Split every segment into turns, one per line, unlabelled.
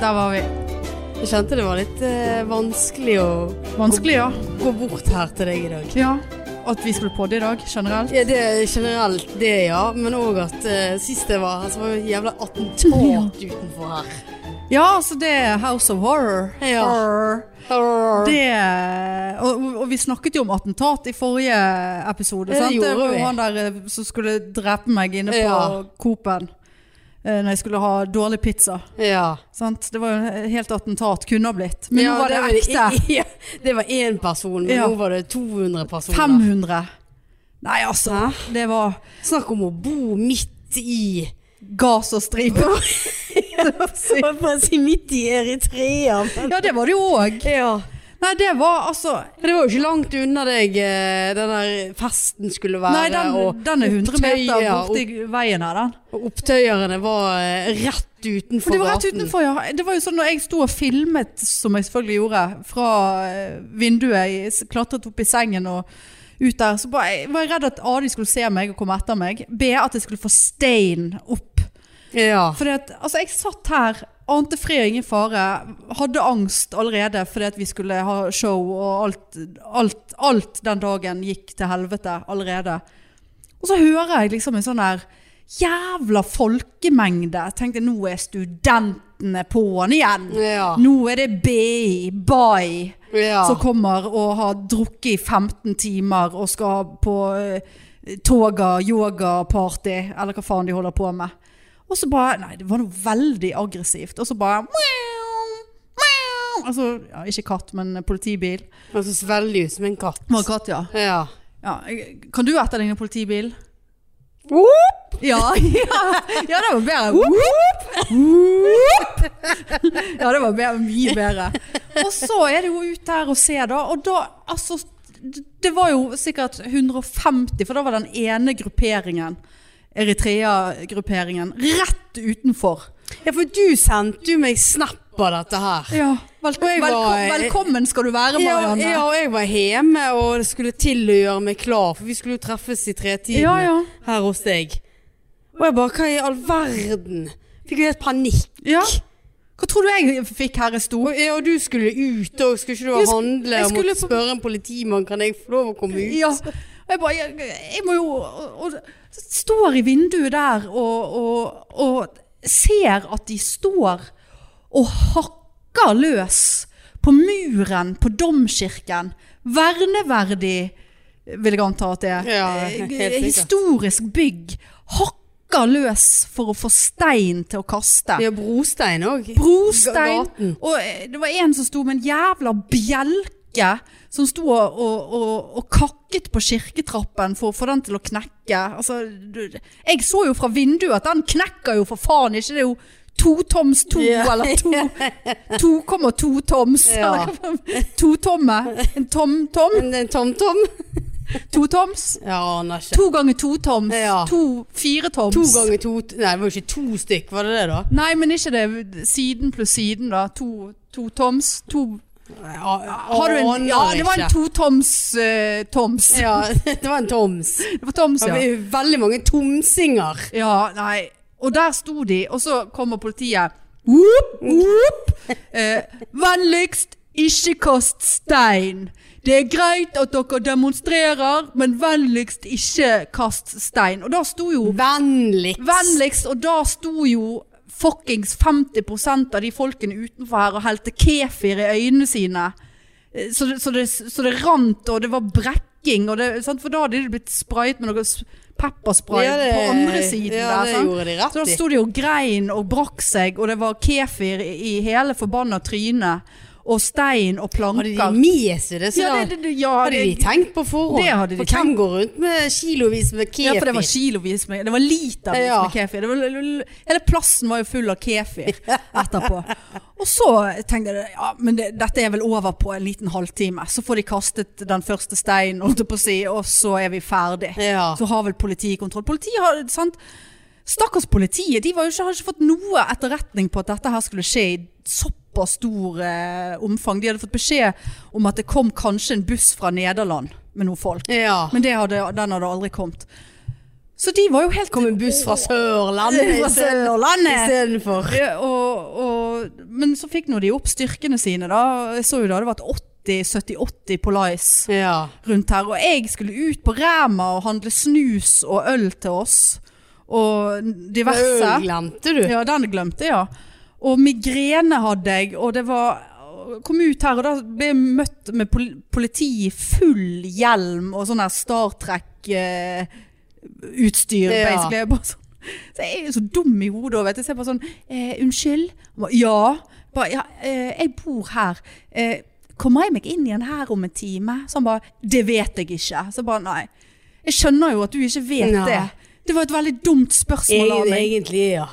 der var vi.
Jeg kjente det var litt eh, vanskelig å
Vanskelig, ja.
gå bort her til deg i dag.
ja. At vi skulle podde i dag, generelt.
Ja, det er generelt det, ja. Men òg at eh, sist jeg var her, så var det jævla attentat utenfor her.
Ja, altså det er House of Horror.
Ja.
Horror.
Arr.
Det, og, og vi snakket jo om attentat i forrige episode.
Det
sant?
gjorde
var jo
vi.
Han der eh, som skulle drepe meg inne på
Ja.
Coop-en eh, når jeg skulle ha dårlig pizza.
Ja.
Sant? Det var jo et helt attentat. Kunne ha blitt. Men
Ja,
nå var det,
var
ekte.
Ja, det var én person, men
Ja.
nå var det 200 personer.
500. Nei, altså. Det var
Snakk om å bo midt i
Gazastripen. Det var sykt.
Jeg får si midt i Eritrea. Men.
ja, det var det jo òg.
Ja.
Nei, det var altså
Det var jo ikke langt unna deg eh, den der festen skulle være.
Nei, den,
og,
den er 100 meter
opptøyer,
borti veien her, den.
og opptøyerne var eh, rett
For
utenfor
det var rett
gaten.
utenfor, ja. Det var jo sånn når jeg sto og filmet, som jeg selvfølgelig gjorde, fra eh, vinduet, jeg s- klatret opp i sengen og ut der, så bare, jeg var jeg redd at A, de skulle se meg og komme etter meg. B, at jeg skulle få stein opp.
Ja.
Fordi at, altså, jeg satt her, ante fred og ingen fare, hadde angst allerede fordi at vi skulle ha show, og alt, alt, alt den dagen gikk til helvete allerede. Og så hører jeg liksom en sånn her jævla folkemengde. Jeg tenkte nå er studentene på'n igjen.
Ja.
Nå er det BI, BAI,
ja.
som kommer og har drukket i 15 timer og skal på eh, toga, yoga-party, eller hva faen de holder på med. Og så bare Nei, det var noe veldig aggressivt. Og så bare meow, meow. Altså, ja, ikke katt, men politibil.
Han så veldig ut som en katt.
Det var katt, ja.
Ja.
ja. Kan du etterligne politibil?
Whoop!
Ja, ja, ja det var bedre. Ja, det var bedre, mye bedre. Og så er det jo ut der og se, da. Og da, altså Det var jo sikkert 150, for da var den ene grupperingen, Eritrea-grupperingen, rett utenfor.
Ja, for du sendte jo meg snap av dette her.
Ja, velko
Og jeg var-
velko velkommen skal du være,
Ja,
Marianne.
ja, og jeg var hjemme og skulle til å gjøre meg klar, for vi skulle jo treffes i tretiden
Ja, ja.
her hos deg. Og jeg bare, hva i all verden? Fikk jo helt panikk.
Ja. Hva tror du jeg fikk her jeg sto?
Og, ja, og du skulle ut, og skulle ikke du
Jeg sk-
handle,
jeg
og
skulle på-
måtte spørre en politimann, kan jeg få lov å komme ut?
Ja. Og jeg bare jeg, jeg må jo og, og, Står i vinduet der og, og, og ser at de står og hakker løs på muren på domkirken. Verneverdig, vil jeg anta at det er.
Ja,
Eh,
helt sikkert.
Historisk bygg. Hakker løs for å få stein til å kaste.
Ja, brostein også.
Brostein.
Gaten.
Og eh, det var en som sto med en jævla bjelke, som sto og, og, og, og kakket på kirketrappen for å få den til å knekke. Altså, du- jeg så jo fra vinduet at den knekker jo for faen ikke. Det er jo to toms to,
Ja.
eller to 2,2 toms.
Ja.
eller To tomme. En tom, tom.
En, en tomtom?
To toms.
Ja, aner ikke.
To ganger to toms.
Ja.
To fire toms.
To ganger to, nei, det var jo ikke to stykk, var det det da?
Nei, men ikke det. Siden pluss siden, da. To, to toms. To Har du en, ja, det var en to-toms eh, toms.
Ja, det var en toms.
Det var toms,
Det
ja.
var veldig mange tomsinger.
Ja, nei. Og der sto de, og så kommer politiet. Whoop, whoop. Eh, vennligst ikke kast stein. Det er greit at dere demonstrerer, men vennligst ikke kast stein. Og da sto jo
Vennligst.
Vennligst, og da sto jo fuckings 50 av de folkene utenfor her og helte kefir i øynene sine. Eh, Så det, så det, så det rant, og det var brekking, og det, sant? for da hadde de blitt sprayet med noe s- pepperspray
Ja, det-
på andre siden.
ja,
der,
det
sant?
gjorde de rett
så da
i.
sto de og grein og brakk seg, og det var kefir i i hele forbanna trynet. Og stein og
Hadde de
planker.
med seg det? Så
ja,
da-
det, det, ja,
hadde de
det,
tenkt på forhånd?
Det hadde de
for hvem går rundt med kilovis med kefir?
ja, for det var kilovis med Det var litervis
Ja.
med kefir. Det var, hele plassen var jo full av kefir etterpå. Og så tenkte jeg ja, men det, dette er vel over på en liten halvtime. Så får de kastet den første steinen, holdt jeg på å si, og så er vi ferdig.
Ja.
Så har vel politiet kontroll. Politiet har sant? Stakkars politiet, de var jo ikke, hadde ikke fått noe etterretning på at dette her skulle skje i såpass stor eh, omfang. De hadde fått beskjed om at det kom kanskje en buss fra Nederland med noen folk.
Ja.
Men det hadde, den hadde aldri kommet. Så de var jo helt
Kom en buss fra Sørlandet
Fra Sørlandet.
istedenfor.
Ja, og, og, Men så fikk nå de opp styrkene sine, da. Jeg så jo da det var et 70-80 på Lice.
Ja.
rundt her. Og jeg skulle ut på Rema og handle snus og øl til oss. Og diverse.
Øl glemte du.
Ja, den glemte jeg, ja. Og migrene hadde jeg, og det var Kom ut her, og da ble jeg møtt med pol- politi i full hjelm og sånn her Star Trek-utstyr,
Ja.
basically. Jeg bare sånn, så jeg er jo så dum i hodet, og vet du. Så jeg bare sånn eh, Unnskyld? Han Ba, ja. Ba, ja eh, jeg bor her. Eh, kommer jeg meg inn igjen her om en time? Så han bare Det vet jeg ikke. Så jeg bare nei. Jeg skjønner jo at du ikke vet
Nei.
det. Det var et veldig dumt spørsmål av
Egen,
meg.
egentlig, ja.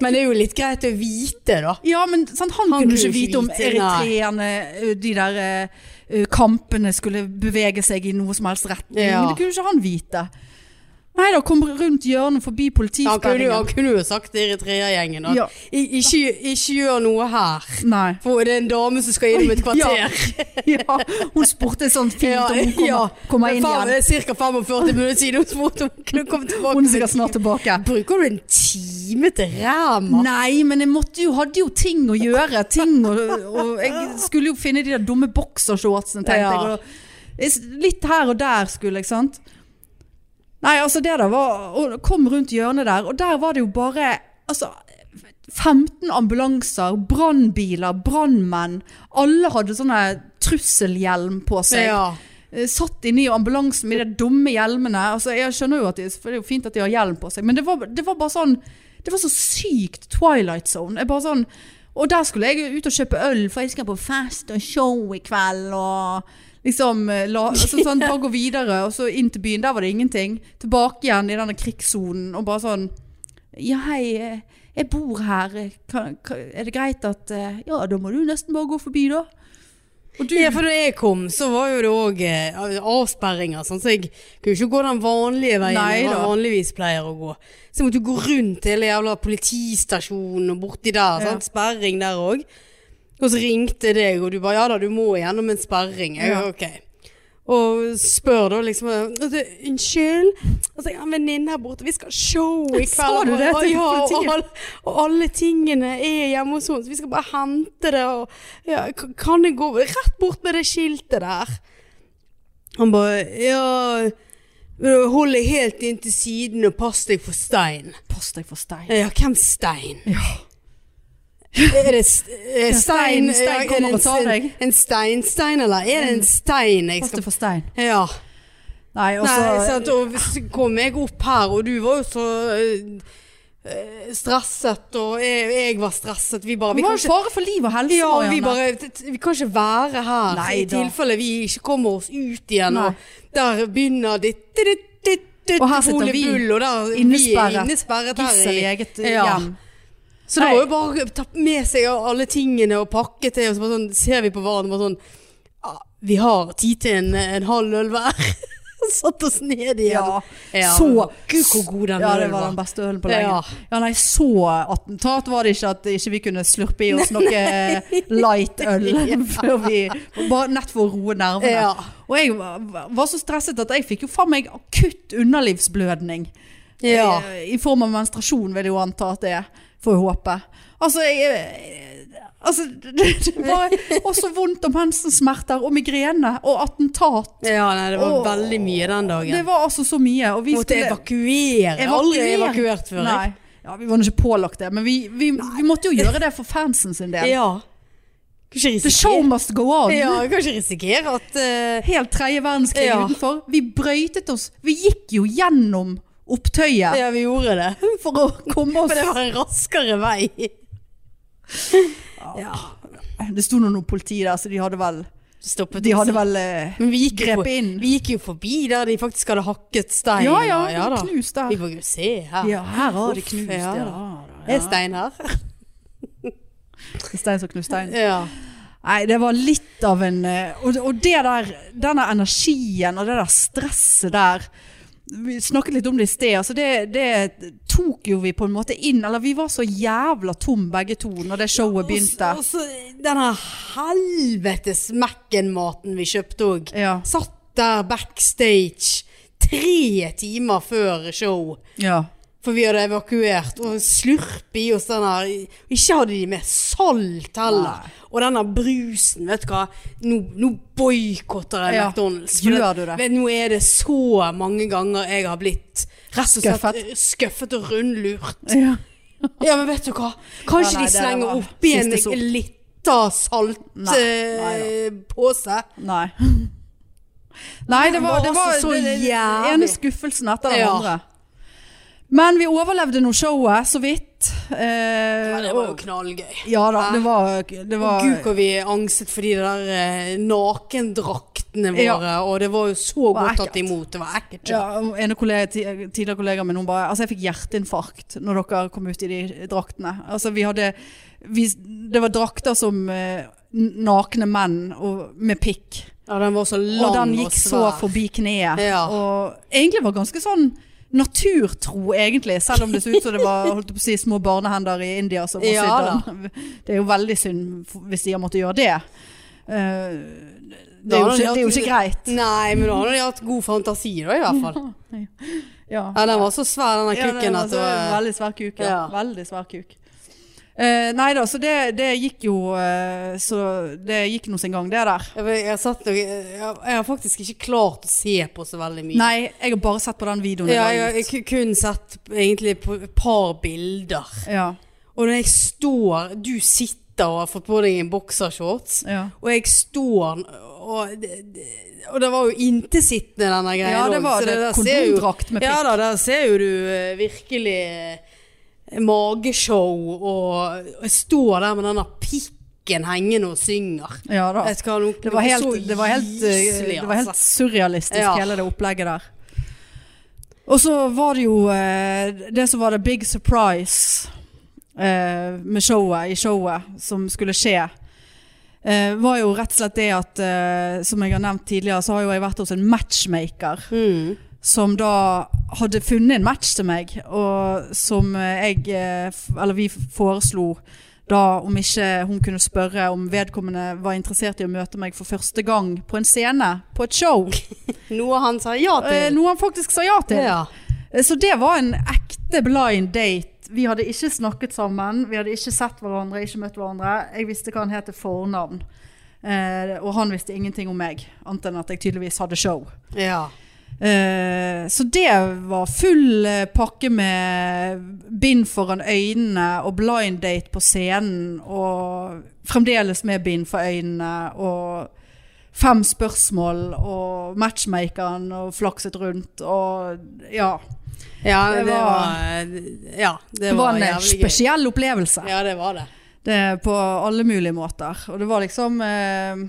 Men det er jo litt greit å vite, da.
Ja, men sant, han,
Han
kunne
kunne
ikke
ikke
vite om
vite,
eritreerne, ø, de der ø, ø, kampene skulle bevege seg i noe som helst retning.
Ja.
Det kunne ikke han vite. Nei da, kom rundt hjørnet forbi
Han kunne, jo- han
politisperringen.
kunne jo sagt til Eritrea-gjengen at
Ja.
"Ik- ikke, ikke gjør noe her.
Nei.
For det er en dame som skal innom et kvarter.
Ja, hun spurte sånn fint om hun kommer, kommer inn igjen.
Ca. 45 minutter siden hun spurte om hun kunne komme tilbake.
Hun er sikkert snart tilbake.
Bruker du en time til ræma?
Nei, men jeg måtte jo, hadde jo ting å gjøre. Ting å, og jeg skulle jo finne de der dumme boksershortsene, tenkte
Ja.
jeg. Og jeg. s- Litt her og der skulle jeg, sant. Nei, altså det der var Og kom rundt hjørnet der, og der var det jo bare altså, 15 ambulanser, brannbiler, brannmenn. Alle hadde sånne trusselhjelm på seg.
Ja.
Eh, Satt inne i ambulansen med de dumme hjelmene. Altså, jeg skjønner jo at de, for det er jo fint at de har hjelm på seg, men det var, det var bare sånn Det var så sykt Twilight Zone. Jeg bare sånn, og der skulle jeg ut og kjøpe øl, for jeg skal på fest og show i kveld. Og liksom eh, la, altså, sånn, Bare gå videre, og så inn til byen. Der var det ingenting. Tilbake igjen i denne krigssonen, og bare sånn Ja, hei. eh, Jeg bor her. eh, Kan, kan, er det greit at eh, Ja, da må du nesten bare gå forbi, da. Og du
Ja, for da jeg kom, så var jo det òg eh, avsperringer, sånn, så jeg kunne jo ikke gå den vanlige veien
Nei
jeg
da.
vanligvis pleier å gå. Så jeg måtte jo gå rundt hele jævla politistasjonen og borti der.
Ja.
Sant? Sperring der òg. Og så ringte jeg deg, og du bare 'ja da, du må gjennom en sperring'. Jeg,
Ja.
Ok. Og spør da liksom altså, 'Unnskyld?' Altså, 'Jeg har en venninne her borte, vi skal ha show i kveld.'
Sa du det
Og-
til
ja, og
politiet?
alle, og alle tingene er hjemme hos henne, så vi skal bare hente det. Og, ja, k- kan jeg gå rett bort med det skiltet der? Han bare Ja, hold deg helt inn til siden og pass deg for stein.
Pass deg for stein.
Ja, hvem stein?
Ja.
Er det s- er stein,
stein- stein
ja, er det
kommer
en
og tar
s-
deg. Mm.
En steinstein, eller? Er det en stein jeg
Pass
skal
deg for stein.
Ja.
Nei, og
Nei,
så
sant, og så kom jeg opp her, og du var jo så eh, stresset, og jeg, jeg var stresset. Vi bare
Det
vi
var
kan
en
ikke,
fare for liv og helse,
ja, vi,
Marianne.
bare, t- t- vi kan ikke være her
Nei
i
da.
tilfelle vi ikke kommer oss ut igjen.
Nei.
Og der begynner det ditt, ditt, ditt,
Og her sitter
Ole
vi,
Bull, og der, vi
innesperret.
er innesperret her
Gissel i eget eh,
Ja.
hjem.
Så det
Nei.
var jo bare å ta med seg alle tingene og pakke til, og så bare sånn, ser vi på hverandre og bare sånn ja, Vi har tid til en, en halv øl hver. Og Satt oss ned igjen.
Ja.
Ja,
Så
Gud, hvor god den
Ja, det
ølen
var den
var.
beste ølen på lenge.
Ja.
Ja. nei, så attentat var det ikke at ikke vi kunne slurpe i oss noe light-øl før vi Bare nett for å roe nervene.
Ja.
Og jeg var var så stresset at jeg fikk jo faen meg akutt underlivsblødning.
Ja.
Eh, I form av menstruasjon, vil jeg jo anta at det er. Får jeg håpe. Altså, jeg eh, Altså, det, det var også vondt om mensensmerter og migrene og attentat.
ja, nei, det var
Åh.
veldig mye den
Det
dagen.
var altså så mye. Og vi
Måtte
skulle
evakuere. Aldri
evakuere.
evakuert før. jeg.
Nei. Ja, vi var nå ikke pålagt det, men vi, vi, vi måtte jo gjøre det for fansen sin del.
Ja. Kan ikke
The show
risikere,
must go on.
ja, kan ikke risikere at eh,
Helt tredje verdenskrig
Ja.
utenfor. Vi brøytet oss. Vi gikk jo gjennom opptøyet
Ja, vi gjorde det.
for å komme oss
Men det var en raskere vei. Ja.
Det sto nå noe politi der, så de hadde vel,
Stoppet
de
oss.
hadde vel eh,
Men vi gikk, jo
grep
for-
inn.
vi gikk jo forbi der de faktisk hadde hakket stein.
Ja,
og-
ja,
da.
knust
Vi
der.
får jo se her.
Ja, her har de
Uff,
knust.
ja
Ja,
da.
da.
Er stein her?
Stein som knust stein.
Ja.
Nei, det var litt av en eh, Og, og det der, denne energien og det der stresset der Vi snakket litt om det i sted. Altså det, det tok jo vi på en måte inn. Eller vi var så jævla tom begge to når det showet begynte.
Og så denne helvetes Mac-en-maten vi kjøpte òg.
Ja.
Satt der backstage. tre timer før show.
Ja.
For vi hadde evakuert og slurpe i oss den her Ikke hadde de med salt heller.
Nei.
Og denne brusen, vet du hva. Nå, nå boikotter jeg
Ja,
McDonald's.
gjør du det?
Vet, nå er det så mange ganger jeg har blitt rett og slett
Skuffet.
eh, skuffet og rundlurt.
ja.
Ja, men vet du hva? Kanskje
Ja, nei,
de
det
slenger
var
oppi en eh,
siste sort.
lita
Nei, nei da.
saltpose.
Nei. Nei, det var, det
var
var
altså så
det- det- det
jævlig.
ene skuffelsen etter den
Ja.
andre. Men vi overlevde nå showet, så vidt. Eh,
det var jo
og-
knallgøy.
ja da, det var, det
Og
var
Gud, hvor vi angset for de der eh, nakendraktene våre.
Ja.
Og det var jo så
var
godt tatt
ekkelt.
imot. Det var ekkelt. Ja.
ja, og En kollega, ti- tidligere kollega min hun bare Altså, jeg fikk hjerteinfarkt når dere kom ut i de draktene. Altså, vi hadde vi, Det var drakter som eh, n- nakne menn og, med pikk.
den var så lang
og
og,
den gikk så
svær.
forbi kneet.
Ja.
Og egentlig var ganske sånn naturtro, egentlig. Selv om det så ut som det var holdt jeg på å si, små barnehender i India som var
Ja
sydd den. Det er jo veldig synd hvis de har måttet gjøre det. Eh, det, er jo
Da hadde
ikke,
de
det er jo
hatt-
ikke greit.
Nei, men da hadde de hatt god fantasi, da, i hvert fall.
Ja.
Ja, den var så svær, den der
Ja, det
kukken.
var
at det
så-
var,
Veldig svær kuk, ja.
Ja.
Veldig svær kuk. Eh, nei da, så det, det gikk jo eh, Så det gikk nå sin gang, det der.
jeg, vet- jeg, har satt noe, jeg, jeg har faktisk ikke klart å se på så veldig mye.
Nei, jeg har bare sett på den videoen.
Ja,
i
jeg
dag.
har ku- kun sett egentlig på et par bilder.
ja,
Og når jeg står Du sitter og har fått på deg en boksershorts,
ja.
og jeg står Og, det- det- og det var jo intesittende, denne greia.
Ja, det
også,
var
så
det.
der ser jo-
Kondomdrakt med pikk.
Ja da, der ser jo du eh, virkelig eh, mageshow, og og jeg står der med denne pikken hengende og synger.
Ja da.
Vet du hva, nå-
Det var
så
helt, det var helt, eh,
gyselig,
det var helt
altså.
surrealistisk,
Ja.
hele det opplegget der. Og så var det jo eh, det som var det big surprise eh, med showet, i showet som skulle skje. eh, var jo rett og slett det at, eh, som jeg har nevnt tidligere, så har jo jeg vært hos en matchmaker
Mm.
som da hadde funnet en match til meg, og som eh, jeg, eh, f- eller vi foreslo da om ikke hun kunne spørre om vedkommende var interessert i å møte meg for første gang på en scene, på et show.
Noe han sa ja
Eh,
til.
Noe han faktisk sa ja til.
Ja.
Eh, Så det var en ekte blind date. Vi hadde ikke snakket sammen, vi hadde ikke sett hverandre, ikke møtt hverandre. Jeg visste hva han het til fornavn, eh, og han visste ingenting om meg, annet enn at jeg tydeligvis hadde show.
ja.
Eh, så det var full eh, pakke med bind foran øynene og blind date på scenen. Og fremdeles med bind for øynene og fem spørsmål og matchmakeren og flakset rundt og ja.
Ja, det,
Det
var, eh,
var-
Ja, det,
Det
var,
var en
jævlig gøy.
spesiell opplevelse.
Ja, det var det.
Det, på alle mulige måter. Og det var liksom eh,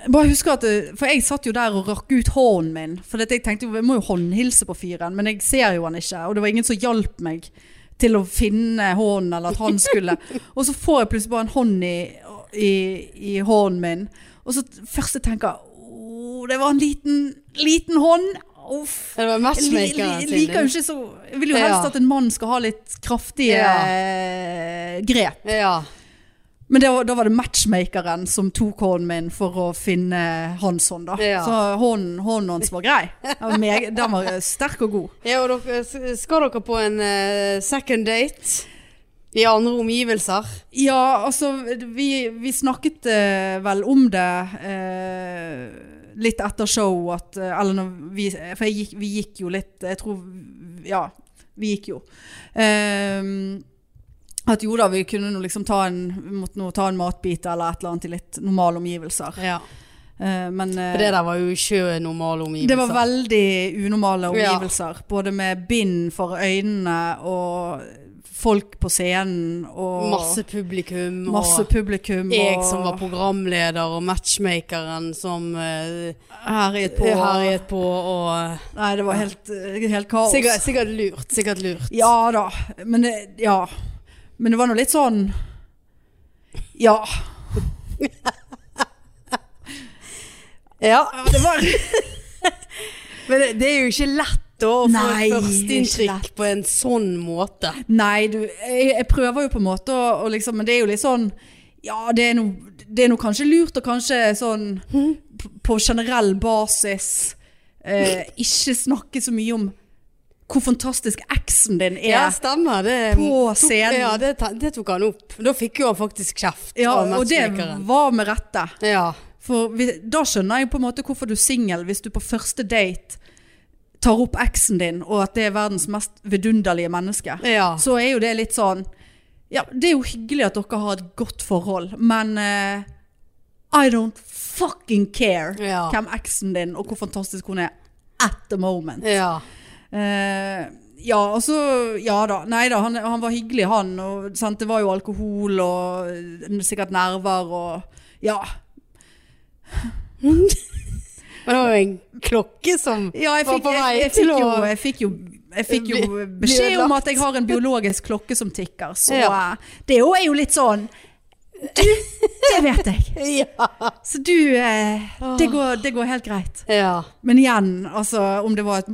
jeg bare husker at, eh, for jeg satt jo der og rakk ut hånden min. For dette, jeg tenkte jo, jeg må jo håndhilse på fyren, men jeg ser jo han ikke. Og det var ingen som hjalp meg til å finne hånden, eller at han skulle. og så får jeg plutselig bare en hånd i, i, i hånden min. Og så t- først jeg tenker jeg det var en liten, liten hånd. Uff.
Det var
Jeg li-
matchmakeren
li-
sin.
liker jo ikke så Jeg vil jo helst
Ja.
at en mann skal ha litt kraftige
Ja.
eh, grep.
Ja.
Men det, var- da var det matchmakeren som tok hånden min for å finne hans hånd, da.
Ja.
Så hånden, hånden hans var grei. Den var, meg, den var eh, sterk og god.
ja, og dere, s- skal dere på en eh, second date i andre omgivelser?
Ja, altså Vi, vi snakket eh, vel om det eh, litt etter show at eh, Eller når vi For jeg gikk, vi gikk jo litt Jeg tror Ja, vi gikk jo. Ehm, at jo da, vi kunne nå liksom ta en, vi måtte nå ta en matbit eller et eller annet i litt normale omgivelser.
Ja.
Eh, men eh,
For det der var jo ikke normale omgivelser.
Det var veldig unormale
Ja.
omgivelser. Både med bind for øynene og folk på scenen og
Masse publikum. og-
masse publikum.
jeg
og
som var programleder, og matchmakeren som uh,
herjet på.
herjet på. Og,
Nei, det var helt, eh, helt kaos.
sikkert, sikkert lurt. Sikkert lurt.
Ja da. Men det, ja. Men det var nå litt sånn Ja.
Ja.
Det var
Men det, det er jo ikke lett å få
Nei,
et
ikke
førsteinntrykk
lett.
på en sånn måte.
Nei, du, jeg, jeg prøver jo på en måte å, å liksom, Men det er jo litt sånn Ja, det er no, det er noe kanskje lurt Og kanskje sånn p- På generell basis eh, ikke snakke så mye om hvor fantastisk eksen din er.
Ja, stemmer. Det,
På
tok-
scenen.
Ja, det, ta- det tok han opp. Da fikk jo han faktisk kjeft
Ja,
av
og det
matchmakeren.
var med rette.
Ja.
For vi, da skjønner jeg på en måte hvorfor du er singel hvis du på første date tar opp eksen din, og at det er verdens mest vidunderlige menneske.
Ja.
Så er jo det litt sånn Ja, det er jo hyggelig at dere har et godt forhold, men eh, I don't fucking care
Ja.
hvem eksen din og hvor fantastisk hun er at the moment.
ja.
Eh, ja, og så Ja da. Nei da, han, han var hyggelig, han. Og, sant? Det var jo alkohol og eh, sikkert nerver og Ja.
Men det var jo en klokke som
Ja, jeg
var
fikk,
på
jeg,
vei
jeg, fikk
til
jo,
å-
jeg fikk jo jeg fikk jo
Bli- bli
beskjed om
ødelagt.
at jeg har en biologisk klokke som tikker, så
Ja.
eh, det jo er jo litt sånn Du, det vet jeg.
Ja.
Så du eh, det, går, det går helt greit.
ja.
Men igjen, altså om det var et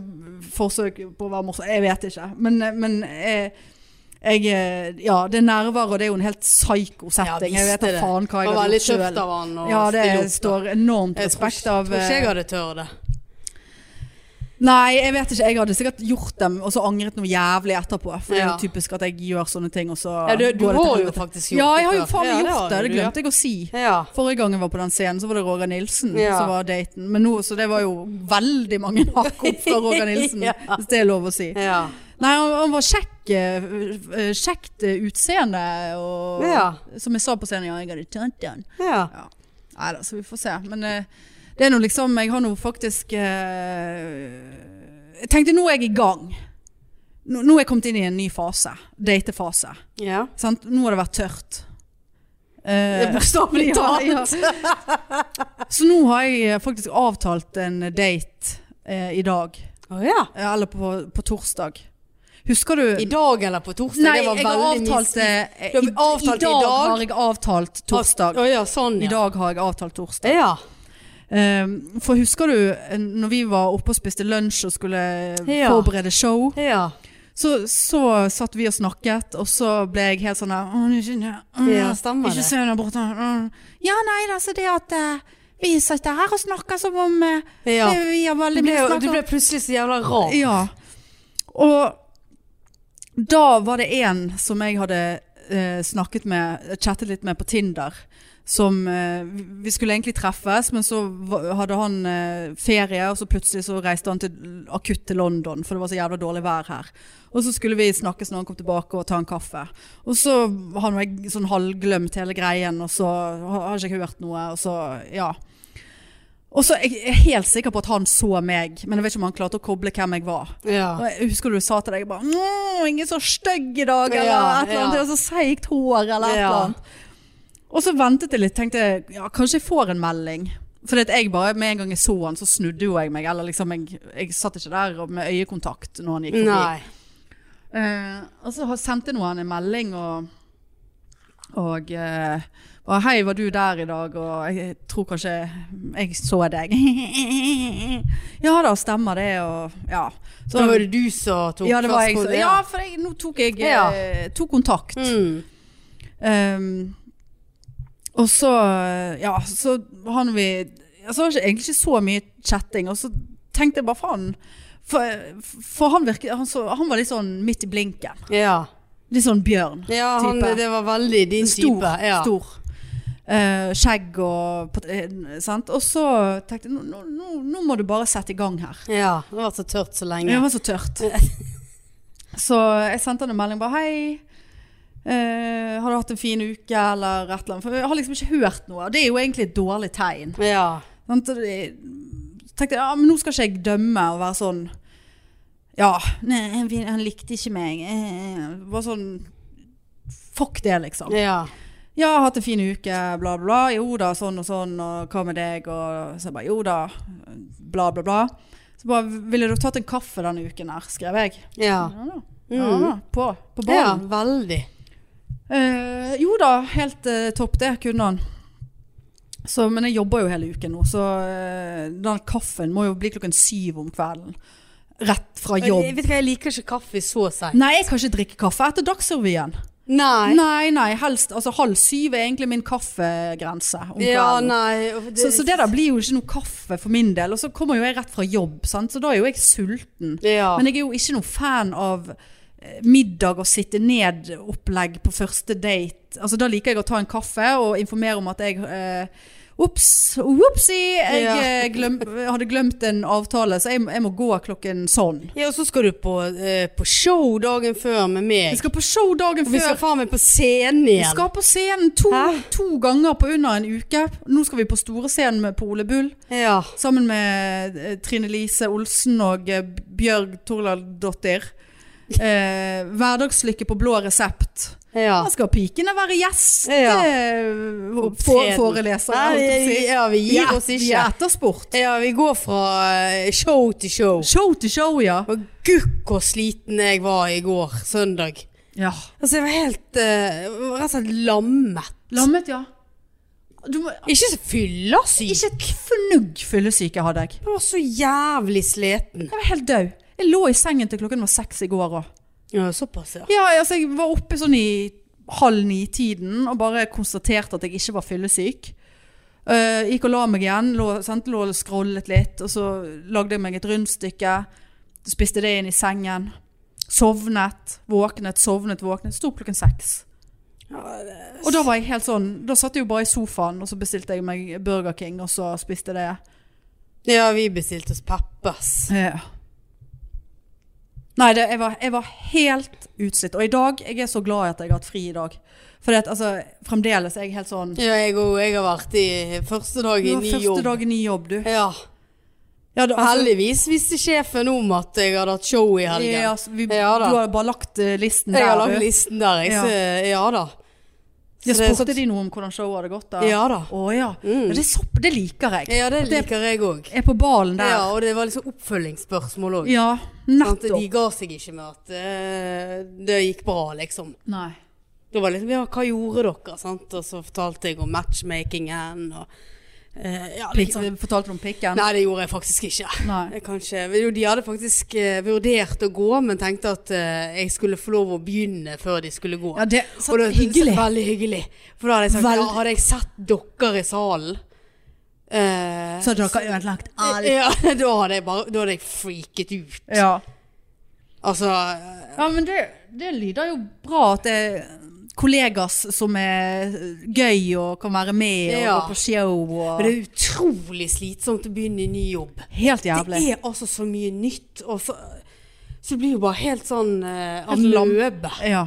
forsøk på å være morsom, jeg vet ikke. Men, eh, men eh, jeg eh, Ja, det er nerver, og det er jo en helt psyko setting. jeg vet da faen hva
Det
jeg
var
hadde
veldig
gjort
tøft
sjøl.
av han å
Ja, det
stille opp.
står enormt
Jeg tror
respekt
ikke-
av
Tror ikke
eh,
jeg hadde tør det.
Nei, jeg vet ikke. Jeg hadde sikkert gjort dem og så angret noe jævlig etterpå. For det er
Ja.
jo typisk at jeg gjør sånne ting, og så
Ja, du- du
går det til
har jo
helvete.
faktisk gjort
Ja,
det
jeg har jo
før.
faen
Ja,
meg
det
gjort
har
det. Det
du, ja.
glemte jeg å si.
Ja.
Forrige gang jeg var på den scenen, så var det Roger Nilsen
Ja.
som var daten. Men nå, så det var jo veldig mange hakk opp fra Roger Nilsen,
Ja.
hvis det er lov å si.
Ja.
Nei, han, han var kjekk, eh, eh, kjekt eh, utseende, og
Ja.
som jeg sa på scenen, ja, jeg hadde tjent den.
ja.
Nei da, så vi får se. Men eh, det er nå liksom Jeg har nå faktisk eh, Jeg tenkte nå er jeg i gang. Nå, nå er jeg kommet inn i en ny fase. Datefase.
ja.
Sant? Nå har det vært tørt. Eh,
Det er
Ja,
Bokstavelig talt.
ja. så nå har jeg eh, faktisk avtalt en date eh, i dag.
Å ja.
Eh, Eller på, på torsdag. Husker du
I dag eller på torsdag?
Nei,
det var
jeg har
veldig
avtalt det eh,
Du har
i, i,
avtalt i
dag
dag?
har jeg avtalt torsdag.
Å ja, sånn, ja.
I dag har jeg avtalt torsdag.
Ja.
Um, for husker du eh, når vi var oppe og spiste lunsj og skulle eh,
Ja.
forberede show,
ja.
så, så satt vi og snakket, og så ble jeg helt sånn her «Åh, det er ikke, det,
Ja, stemmer
ikke
det.
se der borte. åh». Ja, nei da, så det at eh, vi sitter her og snakker som om eh,
Ja.
det, vi har
Du
veldig
ble,
mye
jo-
snakk
du
om.
ble plutselig så jævla rar.
Ja. Og da var det en som jeg hadde eh, snakket med, chattet litt med på Tinder, som eh, vi- Vi skulle egentlig treffes, men så va- hadde han eh, ferie, og så plutselig så reiste han til, akutt til London, for det var så jævla dårlig vær her. Og så skulle vi snakkes når han kom tilbake og ta en kaffe. Og så har nå jeg sånn halvglemt hele greien, og så har har ikke jeg hørt noe, og så ja. Og så er jeg helt sikker på at han så meg, men jeg vet ikke om han klarte å koble hvem jeg var.
Ja.
Og jeg husker du sa til deg bare «Åh, 'Ingen så stygg i dag', eller
Ja,
et eller annet.
ja.
Og så seigt hår, eller et
Ja.
eller annet. Og så ventet jeg litt, tenkte jeg, ja, kanskje jeg får en melding. For jeg bare, med en gang jeg så han, så snudde jo jeg meg. Eller liksom, jeg, jeg satt ikke der og med øyekontakt når han gikk forbi.
Nei.
Eh, og så har- sendte nå han en melding og, og eh, bare, Hei, var du der i dag? Og jeg tror kanskje jeg så deg. ja da, stemmer det. Og, ja. Så,
Da var det du som tok
ja, det var jeg,
først
som-
på det,
ja, for jeg, nå tok jeg eh,
Ja.
tok kontakt.
Mm.
Ehm, og så, eh, ja, så han vi altså, Det var ikke- egentlig ikke så mye chatting, og så tenkte jeg bare faen. For, for han virket han, så, han var litt sånn midt i blinken.
Ja.
Litt sånn bjørn.
ja han,
Type.
det var veldig din
Stor.
type. Ja.
stor. Eh, skjegg og pat- eh, sant? Og så tenkte jeg nå, nå, nå- nå må du bare sette i gang her.
ja. Det har vært så tørt så lenge.
Det var så tørt. Så jeg sendte han en melding bare hei. eh, har du hatt en fin uke, eller et eller annet? For jeg har liksom ikke hørt noe. og Det er jo egentlig et dårlig tegn.
Ja.
Sant? Og det- tenkte jeg, ja, men nå skal ikke jeg dømme og være sånn Ja, nei, han vil- han likte ikke meg. eh, Bare sånn Fuck det, liksom.
Ja.
Ja, har hatt en fin uke, bla bla bla. Jo da, sånn og sånn, og hva med deg? Og så jeg bare, jo da, bla bla bla. Så bare, ville du tatt en kaffe denne uken her, skrev jeg. Ja
Ja.
da, ja,
Mm.
da. på, på
ja.
ballen.
Veldig.
Eh, jo da, helt eh, topp det kunne han. Så, men jeg jobber jo hele uken nå, så eh, den kaffen må jo bli klokken syv om kvelden. Rett fra
Jeg
jobb.
vet du hva, jeg liker ikke kaffe så seint.
Nei, jeg kan ikke drikke kaffe etter Dagsrevyen.
Nei.
Nei, nei, helst altså halv syv er egentlig min kaffegrense om
Ja,
kvelden.
nei. og
så, så det der blir jo ikke noe kaffe for min del. Og så kommer jo jeg rett fra jobb, sant? så da er jo jeg sulten.
Ja.
Men jeg er jo ikke noen fan av eh, middag og sitte ned-opplegg på første date. Altså, da liker jeg å ta en kaffe og informere om at jeg eh, Ops, whoopsie, jeg
Ja.
eh, glem, hadde glemt en avtale, så jeg, jeg må gå klokken sånn.
ja, og så skal du på, eh, på show dagen før med
Vi
meg.
skal på show dagen
Og vi skal
før.
faen meg på scenen
Vi
igjen.
skal på scenen to,
Hæ?
to ganger på under en uke. Nå skal vi på store scenen med på Ole Bull.
Ja.
Sammen med eh, Trine Lise Olsen og eh, Bjørg Torladottir. Eh, hverdagslykke på blå resept.
ja.
Da skal pikene være eh,
Ja. Opptreden. Nei, vi,
gjesteforelesere.
ja, vi gir oss
Vi
ikke.
er ettersport.
Ja, vi går fra eh, show til show.
Show til show, ja.
Og gukk hvor sliten jeg var i går, søndag.
ja.
Altså, jeg var helt eh, rett og slett lammet.
Lammet, ja. Du må,
Ikke så fyllesyk.
ikke et fnugg fyllesyke hadde jeg.
Jeg var så jævlig sliten.
Jeg var helt død. Jeg lå i sengen til klokken var seks i går òg.
Ja, såpass, ja.
Ja, altså, jeg var oppe sånn i halv ni-tiden og bare konstaterte at jeg ikke var fyllesyk. Eh, gikk og la meg igjen, lå, sant, lå og scrollet litt, og så lagde jeg meg et rundstykke. Spiste det inn i sengen. Sovnet, våknet, sovnet, våknet. Sto opp klokken seks. Og da var jeg helt sånn Da satt jeg jo bare i sofaen, og så bestilte jeg meg Burger King, og så spiste det.
Ja, vi bestilte oss peppers.
Ja. Nei, det, jeg, var, jeg var helt utslitt. Og i dag, jeg er så glad i at jeg har hatt fri i dag. For altså, fremdeles er jeg helt sånn
Ja, jeg òg. Jeg har vært i første dag
Det
i
var
ny
første
jobb.
dag i ny jobb, du.
Ja.
Ja, da- altså,
Heldigvis visste sjefen om at jeg hadde hatt show i helgen.
ja, altså, vi,
Ja, da.
du har bare lagt eh, listen
jeg har
der.
lagd
du.
listen der. Jeg,
Ja.
ser- ja da.
Ja,
Så det er
spurte
sånn-
de noe om hvordan showet hadde gått? da?
Ja da.
Å ja.
Mm.
Ja, Det, er så, det liker jeg.
Ja, det
Det-
liker jeg òg.
Jeg er på ballen der.
Ja, og det var liksom oppfølgingsspørsmål òg.
Ja, nettopp.
Sånn De ga seg ikke med at eh, det gikk bra, liksom.
Nei.
Det var liksom, ja, hva gjorde dere? Sant? Og så fortalte jeg om matchmakingen og eh, ja, litt
Pikk,
sånn.
fortalte du om pikken?
Nei, det gjorde jeg faktisk ikke.
Nei.
Jeg kan ikke- jo, De hadde faktisk eh, vurdert å gå, men tenkte at eh, jeg skulle få lov å begynne før de skulle gå.
Ja, det
Og
så
det-
hyggelig.
Veldig hyggelig. For da hadde jeg sagt,
Vel-
ja, hadde jeg sett dere i salen eh,
Så dere har ødelagt alt.
Ja, da hadde jeg bare, da hadde jeg freaket ut.
Ja.
Altså,
Ja, men det, det lyder jo bra at det er kollegas som er gøy og kan være med og
Ja.
gå på show og
men det er utrolig slitsomt å begynne i ny jobb.
Helt
Det
jævlig.
er altså så mye nytt, og så, så det blir jo bare helt sånn uh,
Helt lam-
amøbe.
Ja.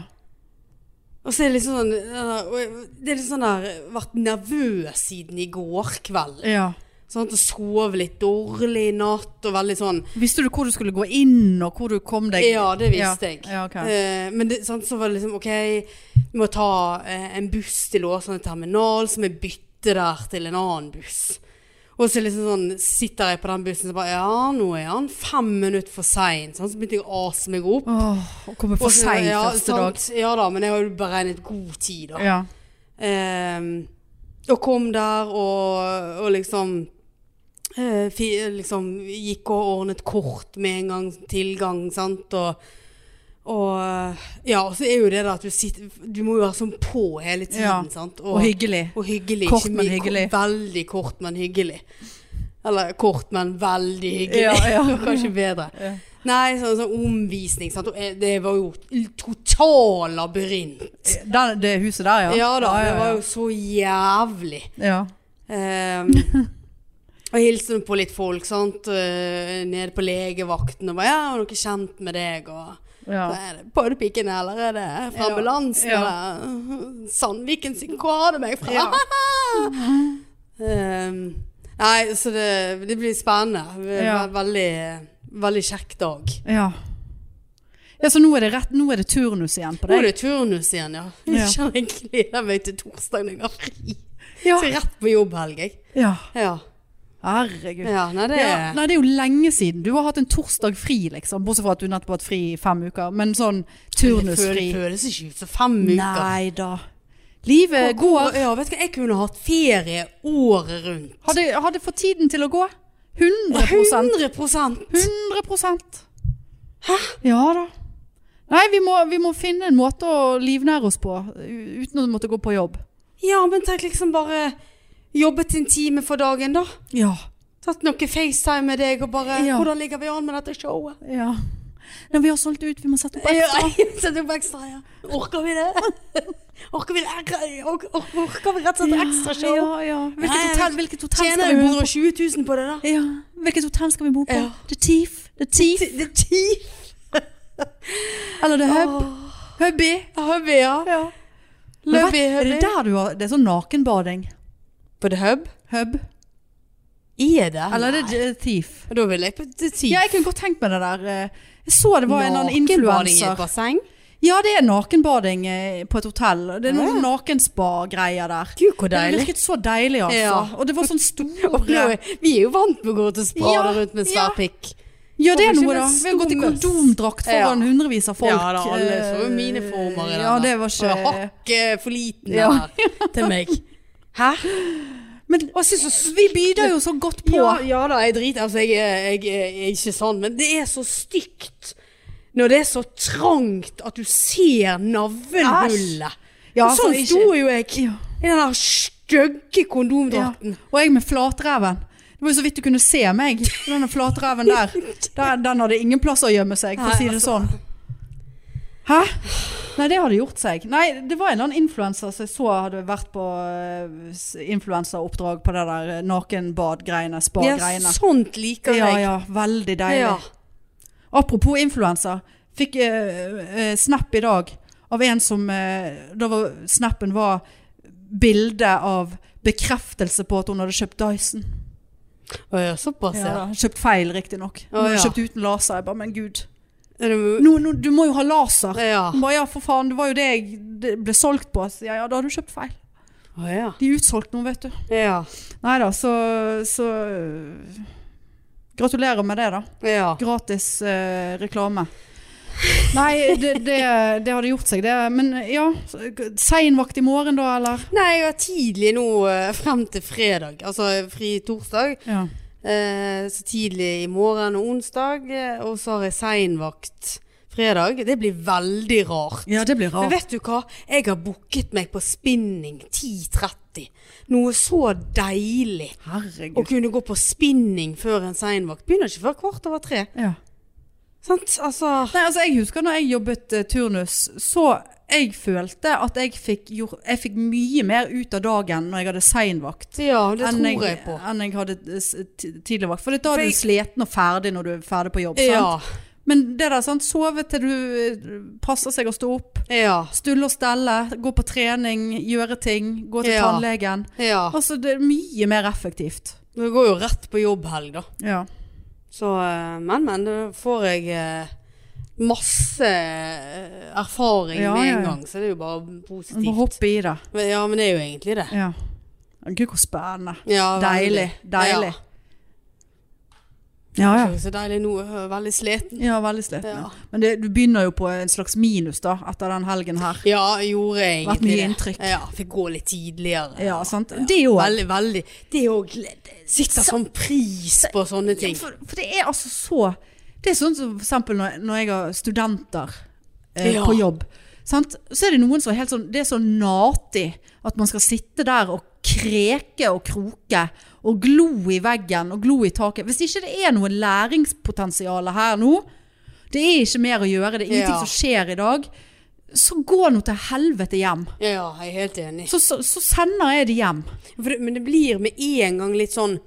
Og så er det liksom sånn, eh, og jeg- det er litt sånn der, eh, vært nervøs siden i går kveld. Sånn
ja.
Sant? Og sove litt dårlig i natt, og veldig sånn.
Visste du hvor du skulle gå inn, og hvor du kom deg
Ja, det visste jeg.
Ja, ok.
Eh, men det, sant, så var det liksom OK, vi må ta eh, en buss til Åsane terminal, så vi bytter der til en annen buss. Og så liksom sånn, sitter jeg på den bussen og bare Ja, nå er han fem minutter for sein. Sånn, så begynte jeg å ase meg opp.
Åh, å komme for
Og så-
seint
ja,
første
sant,
dag.
Ja da, men jeg har jo beregnet god tid, da.
Ja.
Ehm, og kom der og, og liksom eh, fi, Liksom gikk og ordnet kort med en gang tilgang, sant. Og, og eh, Ja, og så er jo det der at du sitter Du må jo være sånn på hele tiden,
Ja,
sant.
Og hyggelig.
og hyggelig.
Kort,
ikke
men
mye-
hyggelig.
Veldig kort, men hyggelig. Eller kort, men veldig hyggelig.
Ja, ja.
Kanskje bedre.
Ja.
Nei, sånn, sånn omvisning, sant. Og eh, det var jo total labyrint.
Der, det huset der, ja.
Ja da,
ja, ja,
det var jo så jævlig.
ja.
Um, og hilste på litt folk, sant. eh, Nede på legevakten og bare 'Ja, er dere kjent med deg?' og
ja.
så er det både pikene, eller er det fra
Ja.
ambulansen,
Ja.
eller Sandviken sin, hvor har du meg fra?
Ja.
um, nei, så det, det blir spennende. Ve-
Ja.
Veldig, veldig kjekk dag.
ja. ja, så nå er det rett Nå er det turnus igjen på
Nå er
deg.
det turnus igjen, ja.
Ja.
Jeg kjenner jeg gleder meg til torsdag når jeg har fri.
Ja.
Så jeg er rett på jobb helg, jeg.
ja.
Ja.
Herregud.
ja. Nei, det
Ja,
er
nei, det er jo lenge siden. Du har hatt en torsdag fri, liksom. Bortsett fra at du nettopp har hatt fri i fem uker. Men sånn
Det
turnusfri.
føles, føles ikke ut som fem uker.
Nei da. Livet
Hvor-
går.
Ja, vet du hva, jeg kunne hatt ferie året rundt.
Hadde, hadde fått tiden til å gå. 100
100
100 Hæ? Ja da. Nei, vi må, vi må finne en måte å livnære oss på u- uten å måtte gå på jobb.
Ja, men tenk liksom bare jobbet en time for dagen, da.
Ja.
Tatt noe FaceTime med deg og bare
Ja.
'Hvordan ligger vi an med dette showet?'
ja. Når vi har solgt ut, vi må sette opp
Ja,
ekstra.
Sett opp ekstra, ja. Orker vi det? Orker vi, det? Orker- orker- orker vi rett og slett ekstra show?
Ja, ja. Hvilket
Nei,
hotell, hvilket hotell
Tjener
skal
jo
vi bo på?
120 000 på det, da.
Ja. Hvilket hotell skal vi bo på?
Ja.
The Thief? The Thief?
Det er ti.
Eller The Hub? Hubby?
Hubby, ja.
Men hva-
Lubby,
Er det
hubby.
der du har Det er sånn nakenbading?
På The Hub?
Hub?
Er det?
Eller er det The Thief?
Da vil jeg på The Thief.
Ja, jeg kunne godt tenkt meg det der. eh, Jeg så det var en eller annen
Nakenbading i
influenser.
et basseng?
Ja, det er nakenbading eh, på et hotell. Det er
Ja.
noen nakenspa-greier der.
Gud, hvor
Det
deilig.
virket så deilig, altså.
Ja.
Og det var sånn
Og nå
store
er- Vi er jo vant med å gå ut og sprade
Ja,
rundt med
ja.
svær pikk.
Ja, det er
Hvorfor
noe,
ikke
da.
med
Vi har gått i
stor møss?
kondomdrakt foran
Ja.
hundrevis av folk.
Ja, da, alle
eh,
så jo mine former i den
Ja,
der.
det var
Og
ikke
hakket eh, for liten
Ja.
der til meg. Hæ?
Men vi byder jo så godt på.
Ja, ja da, jeg driter. Altså, jeg, er- jeg, jeg er ikke sånn, men det er så stygt når det er så trangt at du ser navlehullet.
Ja,
Og
altså,
sånn
ikke-
sto jo jeg
Ja.
i den der stygge
Ja.
kondomdrakten.
Og jeg med flatreven. Det var jo så vidt du kunne se meg. Denne flatreven der. Den, den hadde ingen plass å gjemme seg, for å
Nei,
si det
altså.
sånn. Hæ? Nei, det hadde gjort seg. Nei, det var en eller annen influenser som jeg så hadde vært på eh, s- influenseroppdrag på det der eh, nakenbad-greiene,
Ja,
spa-greiene.
sånt liker
Ja,
jeg.
ja. Veldig deilig.
Ja.
Apropos influenser. Fikk eh, eh, snap i dag av en som eh, Da var snappen var bilde av bekreftelse på at hun hadde kjøpt Dyson.
Å ja, såpass,
Ja,
ja.
da. Kjøpt feil, riktignok. Hun
Å,
hadde
ja.
kjøpt uten laser. Jeg bare, men gud.
Er det-
Nå, nå, du må jo ha laser.
Ja.
Hun bare, ja, for faen. Det var jo det jeg det ble solgt på. Så, ja, ja, da har du kjøpt feil.
Å ja.
De er utsolgt nå, vet du.
Ja.
Nei da, så, så øh, Gratulerer med det, da.
ja.
Gratis eh, reklame. Nei, det, det, det hadde gjort seg, det. Men ja, seinvakt i morgen da, eller?
Nei, jeg var tidlig nå eh, frem til fredag, altså fri torsdag.
Ja.
Eh, så tidlig i morgen og onsdag, eh, og så har jeg seinvakt fredag. Det blir veldig rart.
det blir
Men vet du hva? Jeg har booket meg på spinning 10.30. Noe så deilig å
Herregud.
kunne gå på spinning før en seinvakt. Begynner ikke før kvart over tre.
Ja.
Sant? Altså
Nei, altså jeg husker når jeg jobbet eh, turnus, så jeg følte at jeg fikk, gjort, jeg fikk mye mer ut av dagen når jeg hadde seinvakt.
Ja, det
enn
tror jeg på.
Enn jeg hadde eh, s- ti- tidlig vakt. For da
For
er du
jeg-
sliten og ferdig når du er ferdig på jobb.
Ja.
Sant? Men det der, sant? sove til du eh, passer seg å stå opp.
Ja.
Stulle og stelle, gå på trening, gjøre ting, gå til
Ja.
tannlegen.
ja.
Altså, det er mye mer effektivt.
Det går jo rett på jobbhelg, da.
Ja.
Så, eh, men, men, da får jeg eh, masse eh, erfaring
Ja,
med
ja, ja.
en gang, så det er jo bare
Man må
positivt.
hoppe i det.
Men, ja, men det er jo egentlig det.
Ja. Gud, hvor spennende.
Ja,
Deilig.
veldig.
Deilig. Ja,
Ja.
ja.
Det er jo Så deilig nå, jeg er veldig sliten.
Ja, veldig sliten.
Ja.
Ja. Men det, du begynner jo på en slags minus da, etter den helgen her.
Ja, gjorde jeg
Vært
egentlig
mye
det.
inntrykk.
Ja, fikk gå litt tidligere.
Ja, sant? Det òg.
Veldig, veldig. Det er jo gled- Sitter sånn pris på sånne ting.
For, for det er altså så Det er sånn som for eksempel når, når jeg har studenter eh,
Ja.
på jobb. Sant? Så er det noen som er helt sånn Det er så natig at man skal sitte der og kreke og kroke. Og glo i veggen og glo i taket. Hvis ikke det er noe læringspotensial her nå, det er ikke mer å gjøre, det er ingenting
Ja.
som skjer i dag, så gå nå til helvete hjem.
Ja, jeg er helt enig.
Så, så, så sender jeg det hjem.
For det, men det blir med en gang litt sånn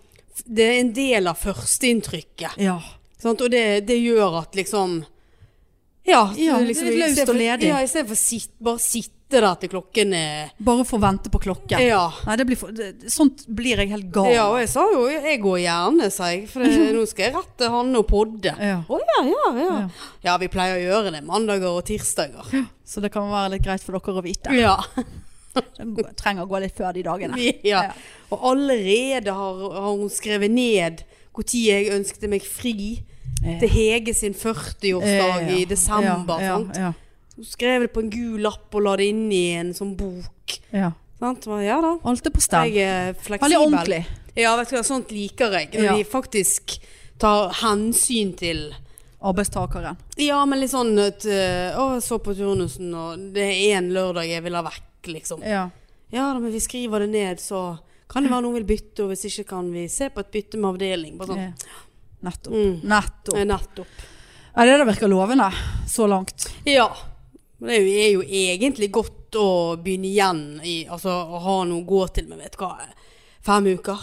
Det er en del av førsteinntrykket.
Ja.
Sant? Og det, det gjør at liksom Ja,
Ja,
så
det er løst
i stedet
og
for-
ledig.
Ja, istedenfor sitt, bare sitte der til klokken er
Bare for å vente på klokken.
Ja.
Nei, det blir for, det, sånt blir jeg helt gal
ja, og jeg sa jo jeg går gjerne, sa jeg. For det, nå skal jeg rette Hanne og podde. Å
Ja.
ja, ja, ja.
Ja.
Ja, vi pleier å gjøre det mandager og tirsdager.
Så det kan være litt greit for dere å vite.
Ja.
Jeg trenger å gå litt før de dagene.
ja. Og allerede har, har hun skrevet ned når jeg ønsket meg fri.
Ja.
Til Hege sin 40-årsdag i desember.
Ja,
sant?
ja,
Hun skrev det på en gul lapp og la det inn i en sånn bok.
ja, ja.
Sant? Men Ja da.
Alt er på stell.
Jeg er fleksibel.
Veldig ordentlig.
Ja, vet du hva, sånt liker jeg. Når
Ja.
de faktisk tar hensyn til
arbeidstakeren.
Ja, men litt sånn at eh, Å, jeg så på turnusen, og det er én lørdag jeg vil ha vekk, liksom.
Ja.
Ja da, men vi skriver det ned, så kan det være noen vil bytte, og hvis ikke kan vi se på et bytte med avdeling. Bare sånn.
ja. Nettopp.
Mm.
Nettopp.
Eh, Nettopp.
Ja, det der virker lovende så langt.
Ja. Men Det er jo, er jo egentlig godt å begynne igjen i Altså å ha noe å gå til med, vet du hva. Fem uker.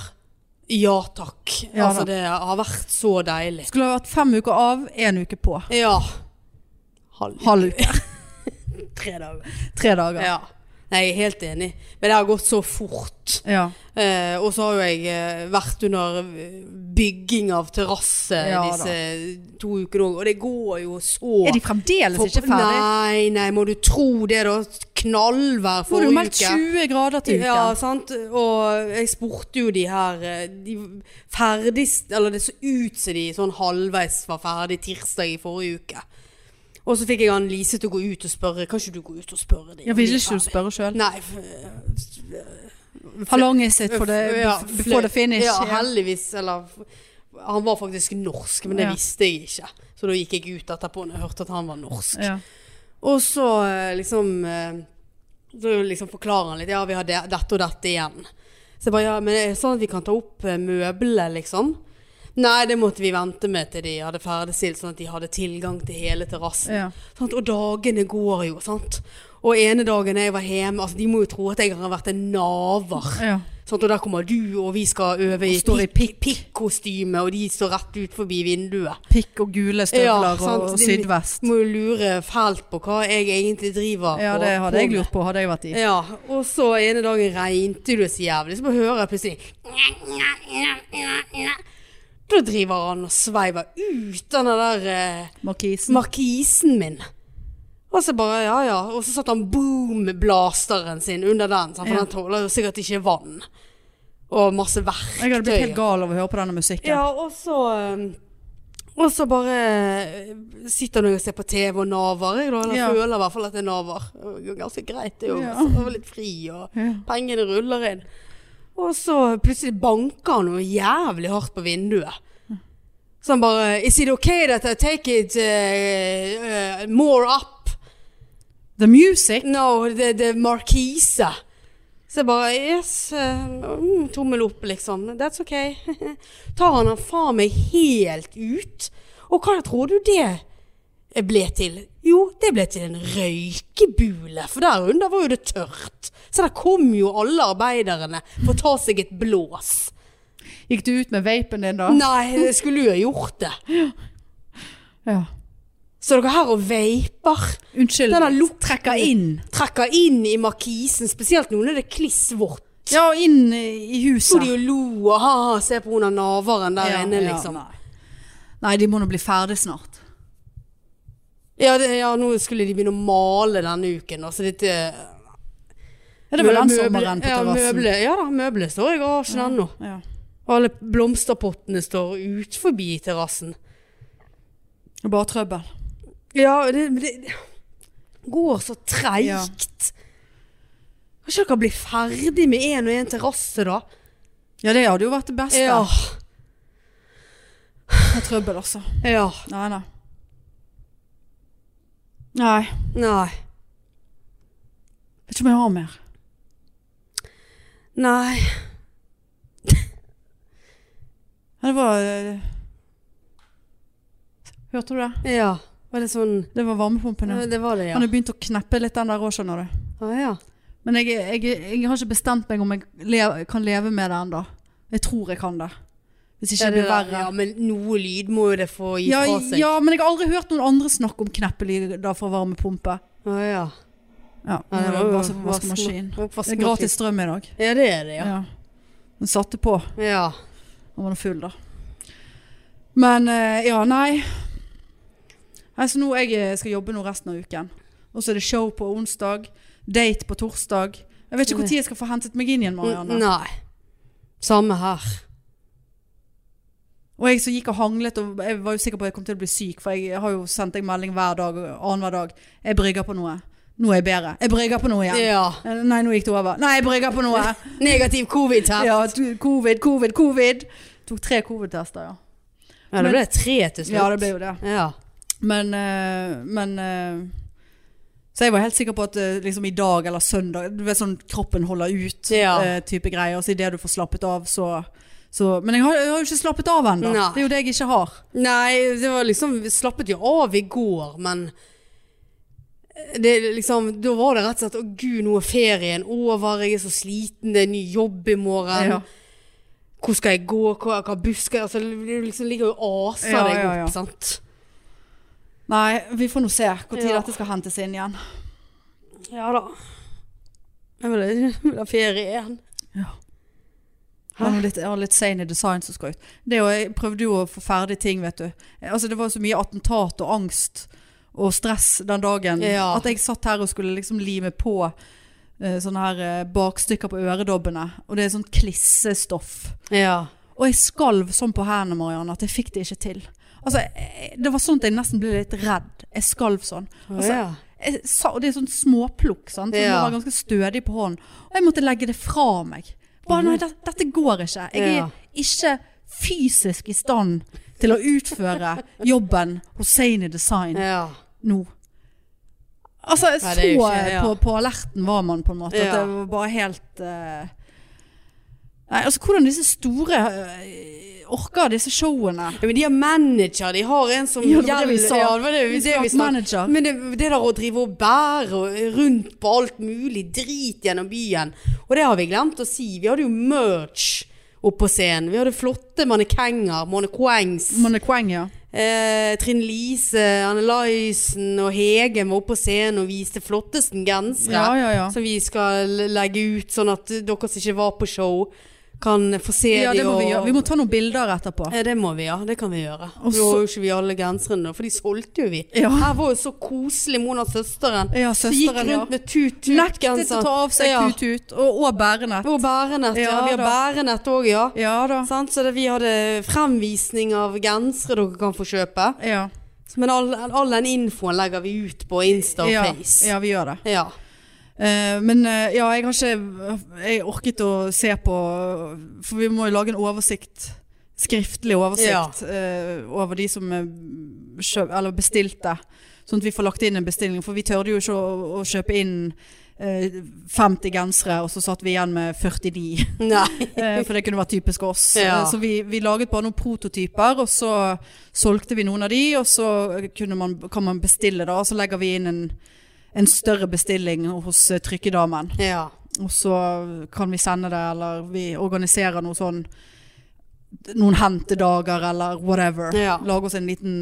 Ja takk.
Ja da.
altså det har vært så deilig.
Skulle ha vært fem uker av, én uke på.
Ja. Halv
Halv uke.
tre dager.
Tre dager.
Ja. Nei, jeg er helt enig. Men det har gått så fort.
Ja.
Eh, og så har jo jeg eh, vært under bygging av terrasse
Ja da.
disse to ukene òg, og det går jo så
Er de fremdeles ikke ferdig?
Nei, nei, må du tro det da?
Nå
Knallvær
har du
forrige
meldt
uke.
20 grader til uken.
Ja, sant. Og jeg spurte jo de her eh, De ferdigst Eller det så ut som de sånn halvveis var ferdig tirsdag i forrige uke. Og så fikk jeg han Lise til å gå ut og spørre. Kan ikke du gå ut og spørre dem?
Jeg vil ikke du spørre sjøl.
Nei. f-
How long is it for the,
Ja,
before the finish?
Ja, heldigvis. Eller Han var faktisk norsk, men det
Ja.
visste jeg ikke. Så da gikk jeg ut etterpå når jeg hørte at han var norsk.
Ja.
Og så eh, liksom eh, Så liksom forklarer han litt Ja, vi har det, dette og dette igjen Så jeg bare, ja, men er det sånn at vi kan ta opp eh, møbler liksom? Nei, det måtte vi vente med til de hadde ferdigstilt Sånn at de hadde tilgang til hele terrassen
Ja.
sant? Og dagene går jo, sant? Og ene dagen jeg var hjemme Altså, de må jo tro at jeg har vært en naver
Ja.
sant? Og der kommer du, og vi skal øve
Og står i
i pikk- pikk-kostyme Og de står rett ut forbi vinduet
Pikk og gule støvler
sant,
og
de-
sydvest.
Må jo lure fælt på hva jeg egentlig driver
Ja,
på-
det hadde jeg
på
lurt på, hadde jeg vært i.
med. Ja, og så ene dagen regnte det så jævlig, så bare hører jeg plutselig Da driver han og sveiver ut den der eh,
Markisen.
markisen min. Og så bare, ja ja, og så satt han boom-blasteren sin under den, sant? for
Ja.
den tåler jo sikkert ikke vann. Og masse verktøy.
Jeg hadde blitt helt gal av å høre på denne musikken.
Ja, og så um, Og så bare eh, sitter han og ser på TV og naver. Jeg da, eller
Ja.
føler i hvert fall at jeg naver. Det er jo ganske greit, det òg.
Ja.
Jeg var litt fri, og pengene ruller inn. Og så plutselig banker han noe jævlig hardt på vinduet. Så han bare Is it okay that I take it uh, uh, more up?
The music?
No, the, the markise. Så jeg bare Yes. eh, mm, tommel opp, liksom. That's ok. Tar han han faen meg helt ut? Og hva tror du det ble til? Jo, det ble til en røykebule, for der under var jo det tørt. Så der kom jo alle arbeiderne for å ta seg et blås.
Gikk du ut med vapen din da?
Nei, jeg skulle jo ha gjort det.
Ja.
Så dere her og veiper.
Unnskyld.
Den har lukt-
trekker inn.
Trekker inn i markisen, spesielt nå når det er kliss vått.
Ja, og inn i
sto
huset.
de og lo og ha-ha, se på hun av naveren der
Ja,
inne,
ja,
liksom.
nei. Nei, de må nå bli ferdig snart.
Ja, det, ja, nå skulle de begynne å male denne uken, altså, eh, da, så dette
Ja, det var den sommeren på
Ja,
terrassen.
møble, ja da, møblet står i garasjen ennå.
Ja.
Og alle blomsterpottene står ut forbi terrassen.
Det er Bare trøbbel.
Ja, det, men det går så
Ja.
treigt. Kan ikke dere bli ferdig med én og én terrasse, da?
Ja, det hadde jo vært det beste.
Ja.
Med trøbbel, altså.
ja.
Nei, nei. Nei.
Nei.
Vet ikke om jeg har mer.
Nei.
Ja, det var eh, Hørte du det?
Ja. Var det sånn
Det var varmepumpen, ja.
Det var det, ja.
Han har begynt å kneppe litt den der òg, skjønner du.
Ah, ja.
Men jeg, jeg, jeg har ikke bestemt meg om jeg le, kan leve med det ennå. Jeg tror jeg kan det. Hvis ikke
Ja,
det blir
der-
verre.
Ja, men noe lyd må jo det få gi
Ja,
fra seg.
ja, men jeg har aldri hørt noen andre snakke om kneppelyder fra varmepumpe.
Å, ja.
Ja,
Ja,
det
var jo
var vas- vaskemaskin.
vaske-
Det er
vaskemaskin.
gratis strøm i dag.
Ja, det er det, ja.
Ja. Hun satte på.
ja.
Han var nå full, da. Men eh, ja, nei. Nei, så nå jeg eh, skal jobbe nå resten av uken. Og så er det show på onsdag. Date på torsdag. Jeg vet ikke når jeg skal få hentet meg inn igjen,
N-
Marianne.
Nei. Samme her.
Og jeg som gikk og hanglet, og jeg var jo sikker på at jeg kom til å bli syk, for jeg har jo sendt deg melding hver dag, annenhver dag. Jeg brygger på noe. Nå er jeg bedre. Jeg brygger på noe
Ja.
igjen. Eh, Nei, nå gikk det over. Nei, jeg brygger på noe.
Negativ covid-test. Ja.
Ja, du- covid, covid, covid. Tok tre covid-tester, ja.
det ble tre til slutt.
Ja, det ble jo det.
Ja.
Men, eh, men eh, Så jeg var helt sikker på at eh, liksom i dag eller søndag Du vet sånn kroppen holder ut
Ja.
eh, type greier. Og så idet du får slappet av, så, så Men jeg har, jeg har jo ikke slappet av ennå.
Nei.
Det er jo det jeg ikke har.
Nei, det var liksom Vi slappet jo av i går, men det er liksom, Da var det rett og slett Å gud, nå er ferien over, jeg er så sliten, det er ny jobb i morgen.
Ja.
Hvor skal jeg gå, hva, hva buss skal jeg altså, Du liksom ligger jo og aser
Ja,
deg
ja,
opp,
ja.
sant.
Nei, vi får nå se når
Ja.
dette skal hentes inn igjen.
Ja da. Jeg vil, jeg vil ha ferie igjen.
Det var noe litt, jeg har litt sane design som skal ut. Det er jo- jeg prøvde jo å få ferdig ting, vet du. Altså, det var så mye attentat og angst og stress den dagen.
Ja.
At jeg satt her og skulle liksom lime på eh, sånne her eh, bakstykker på øredobbene. Og det er sånn klissestoff.
Ja.
Og jeg skalv sånn på hendene, Marianne, at jeg fikk det ikke til. Altså, jeg, det var sånn at jeg nesten ble litt redd. Jeg skalv sånn. Altså,
ja.
jeg sa, og det er sånn småplukk, sant? så du må
Ja.
være ganske stødig på hånden. Og jeg måtte legge det fra meg. Bare, nei, det, dette går ikke. Jeg
Ja.
er ikke fysisk i stand til å utføre jobben hos Sane Design
ja.
nå. Altså,
Nei,
så
det er jo ikke- ja.
på, på alerten var man på en måte. At
Ja.
det var bare helt eh, Nei, altså hvordan disse store eh, orker disse showene.
Ja, men de har manager, de har en som
Ja, det var det vi
gjelder-
sa.
Ja, det var det vi, det vi sa.
Manager.
Men det, det der å drive og bære og rundt på alt mulig drit gjennom byen, og det har vi glemt å si. Vi hadde jo merch oppe på scenen. Vi hadde flotte mannekenger, mannequengs.
Mannequeng, ja.
Eh, Trine Lise, Anne Laisen og Hege var oppe på scenen og viste flottesten gensere.
Ja, ja, ja.
Som vi skal legge ut, sånn at dere som ikke var på show, kan få se
ja det
de
må
og
vi, gjøre. vi må ta noen bilder etterpå.
ja, det må vi, ja. Det kan vi gjøre.
Og
Nå har jo ikke vi alle genserne, nå, for de solgte jo vi.
Ja.
Her var jo så koselig Mona, søsteren.
Ja,
som gikk
søsteren, ja.
rundt med tut-tut-genser.
Nektet å ta av seg
ja.
tut-tut, og, og bærenett.
Og bærenett, ja.
Ja,
Vi har
da.
bærenett òg, ja.
Ja da.
Sant? Så det, vi hadde fremvisning av gensere dere kan få kjøpe.
Ja,
Men all, all den infoen legger vi ut på Insta og
ja,
Face.
ja vi gjør det.
Ja.
Eh, men eh, ja, jeg har ikke Jeg orket å se på For vi må jo lage en oversikt. Skriftlig oversikt eh, over de som eh, kjøp, eller bestilte. Sånn at vi får lagt inn en bestilling. For vi tørde jo ikke å, å kjøpe inn eh, 50 gensere, og så satt vi igjen med 49.
Nei.
Eh, For det kunne vært typisk oss.
Ja.
Eh, Så vi, vi laget bare noen prototyper, og så solgte vi noen av de, og så kunne man, kan man bestille da, og så legger vi inn en, en større bestilling hos eh, trykkedamen.
Ja.
Og så kan vi sende det, eller vi organiserer noe sånn noen hentedager eller whatever.
Ja.
Lage oss en liten,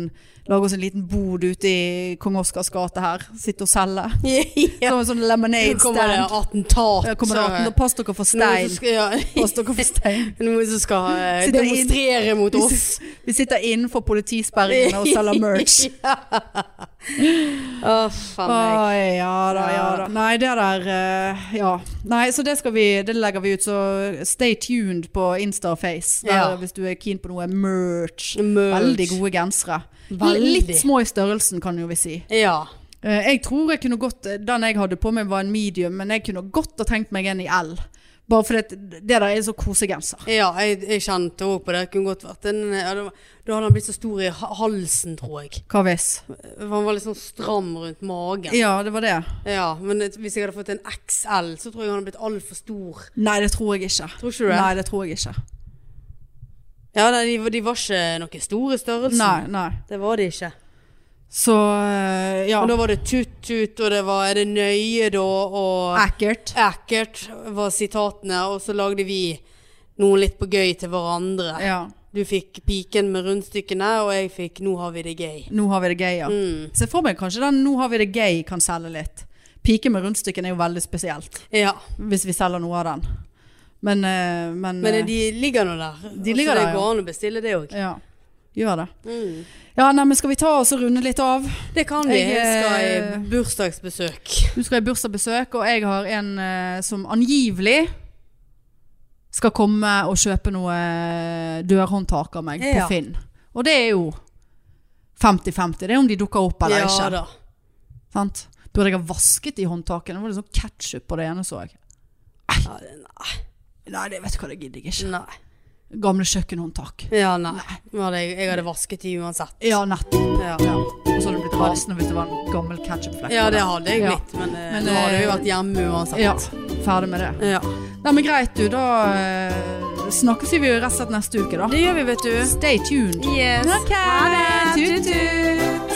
lage oss en liten bod ute i Kong Oscars gate her. Sitte og selge.
ja.
Som en sånn
Nå
lemonade
kommer det
stand.
attentat.
Ja, Kommer det atten- Pass dere for stein.
Stein.
Pass dere for stein.
Noen som skal eh,
Sitter inn-
demonstrere mot
Vi
oss.
Vi sitter innenfor politisperringene og selger merch.
ja. Å, faen meg.
Oi, ja da, ja da. Nei, det der eh, Ja. Nei, så det, skal vi, det legger vi ut, så stay tuned på Insta og Face der,
Ja.
hvis du er keen på noe merch.
Merch.
Veldig gode gensere. L-
Veldig.
Litt små i størrelsen, kan jo vi si.
Ja.
Eh, Jeg tror jeg kunne godt Den jeg hadde på meg, var en medium, men jeg kunne godt ha tenkt meg en i L. Bare fordi det, det der er så kosegenser.
ja jeg, jeg kjente òg på det. Det Kunne godt vært en eh, ja, det var- Da hadde han blitt så stor i ha- halsen, tror jeg.
Hva hvis?
For han var litt sånn stram rundt magen.
Ja, det var det.
Ja, Men et- hvis jeg hadde fått en XL, så tror jeg han hadde blitt altfor stor.
Nei, det tror jeg ikke.
Tror ikke du det?
Nei, det tror jeg ikke.
Ja, nei, de, var- de var ikke noe store i størrelsen.
Nei, nei.
Det var de ikke.
Så eh, ja.
Men da var det tut-tut, og det var er det nøye, da, og
Ekkelt.
Ekkelt var sitatene, og så lagde vi noe litt på gøy til hverandre.
Ja.
Du fikk piken med rundstykkene, og jeg fikk 'nå har vi det gøy'. Mm.
Nå har vi det gøy, ja. Se for meg kanskje den 'nå har vi det gøy' kan selge litt. Pike med rundstykken er jo veldig spesielt,
Ja,
hvis vi selger noe av den. Men, eh, men,
Men
eh,
de ligger nå der.
De ligger
så
der,
det går an å bestille det òg.
Ja. Gjør det. Ja, nei, men skal vi ta oss og runde litt av?
Det kan vi.
Jeg,
Jeg skal
eh,
i bursdagsbesøk.
Du skal i bursdagsbesøk, og jeg har en eh, som angivelig skal komme og kjøpe noe eh, dørhåndtak av meg
Ja.
på Finn. Og det er jo 50-50. Det er om de dukker opp eller ikke.
Ja da.
Sant? Burde jeg ha vasket de håndtakene? Det var det sånn ketsjup på det ene, så jeg.
Ja, det-
Nei, det vet du hva, det gidder jeg ikke.
Nei.
gamle kjøkkenhåndtak.
Ja, nei. Nå hadde Jeg, jeg hadde vasket de uansett.
Ja, nettopp.
Ja.
Ja. Og så hadde det blitt rasende hvis det var en gammel ketchupflekk.
Ja, det hadde jeg
Ja.
blitt, men, eh,
Men,
nå hadde vi
eh,
vært hjemme uansett.
Ja, ferdig med det.
Ja.
Nei, men greit du, da eh, snakkes vi jo rett og slett neste uke da.
Det gjør vi, vet du.
Stay tuned.
Yes.
Ok,
Ha det.
tut,
Tut, tut.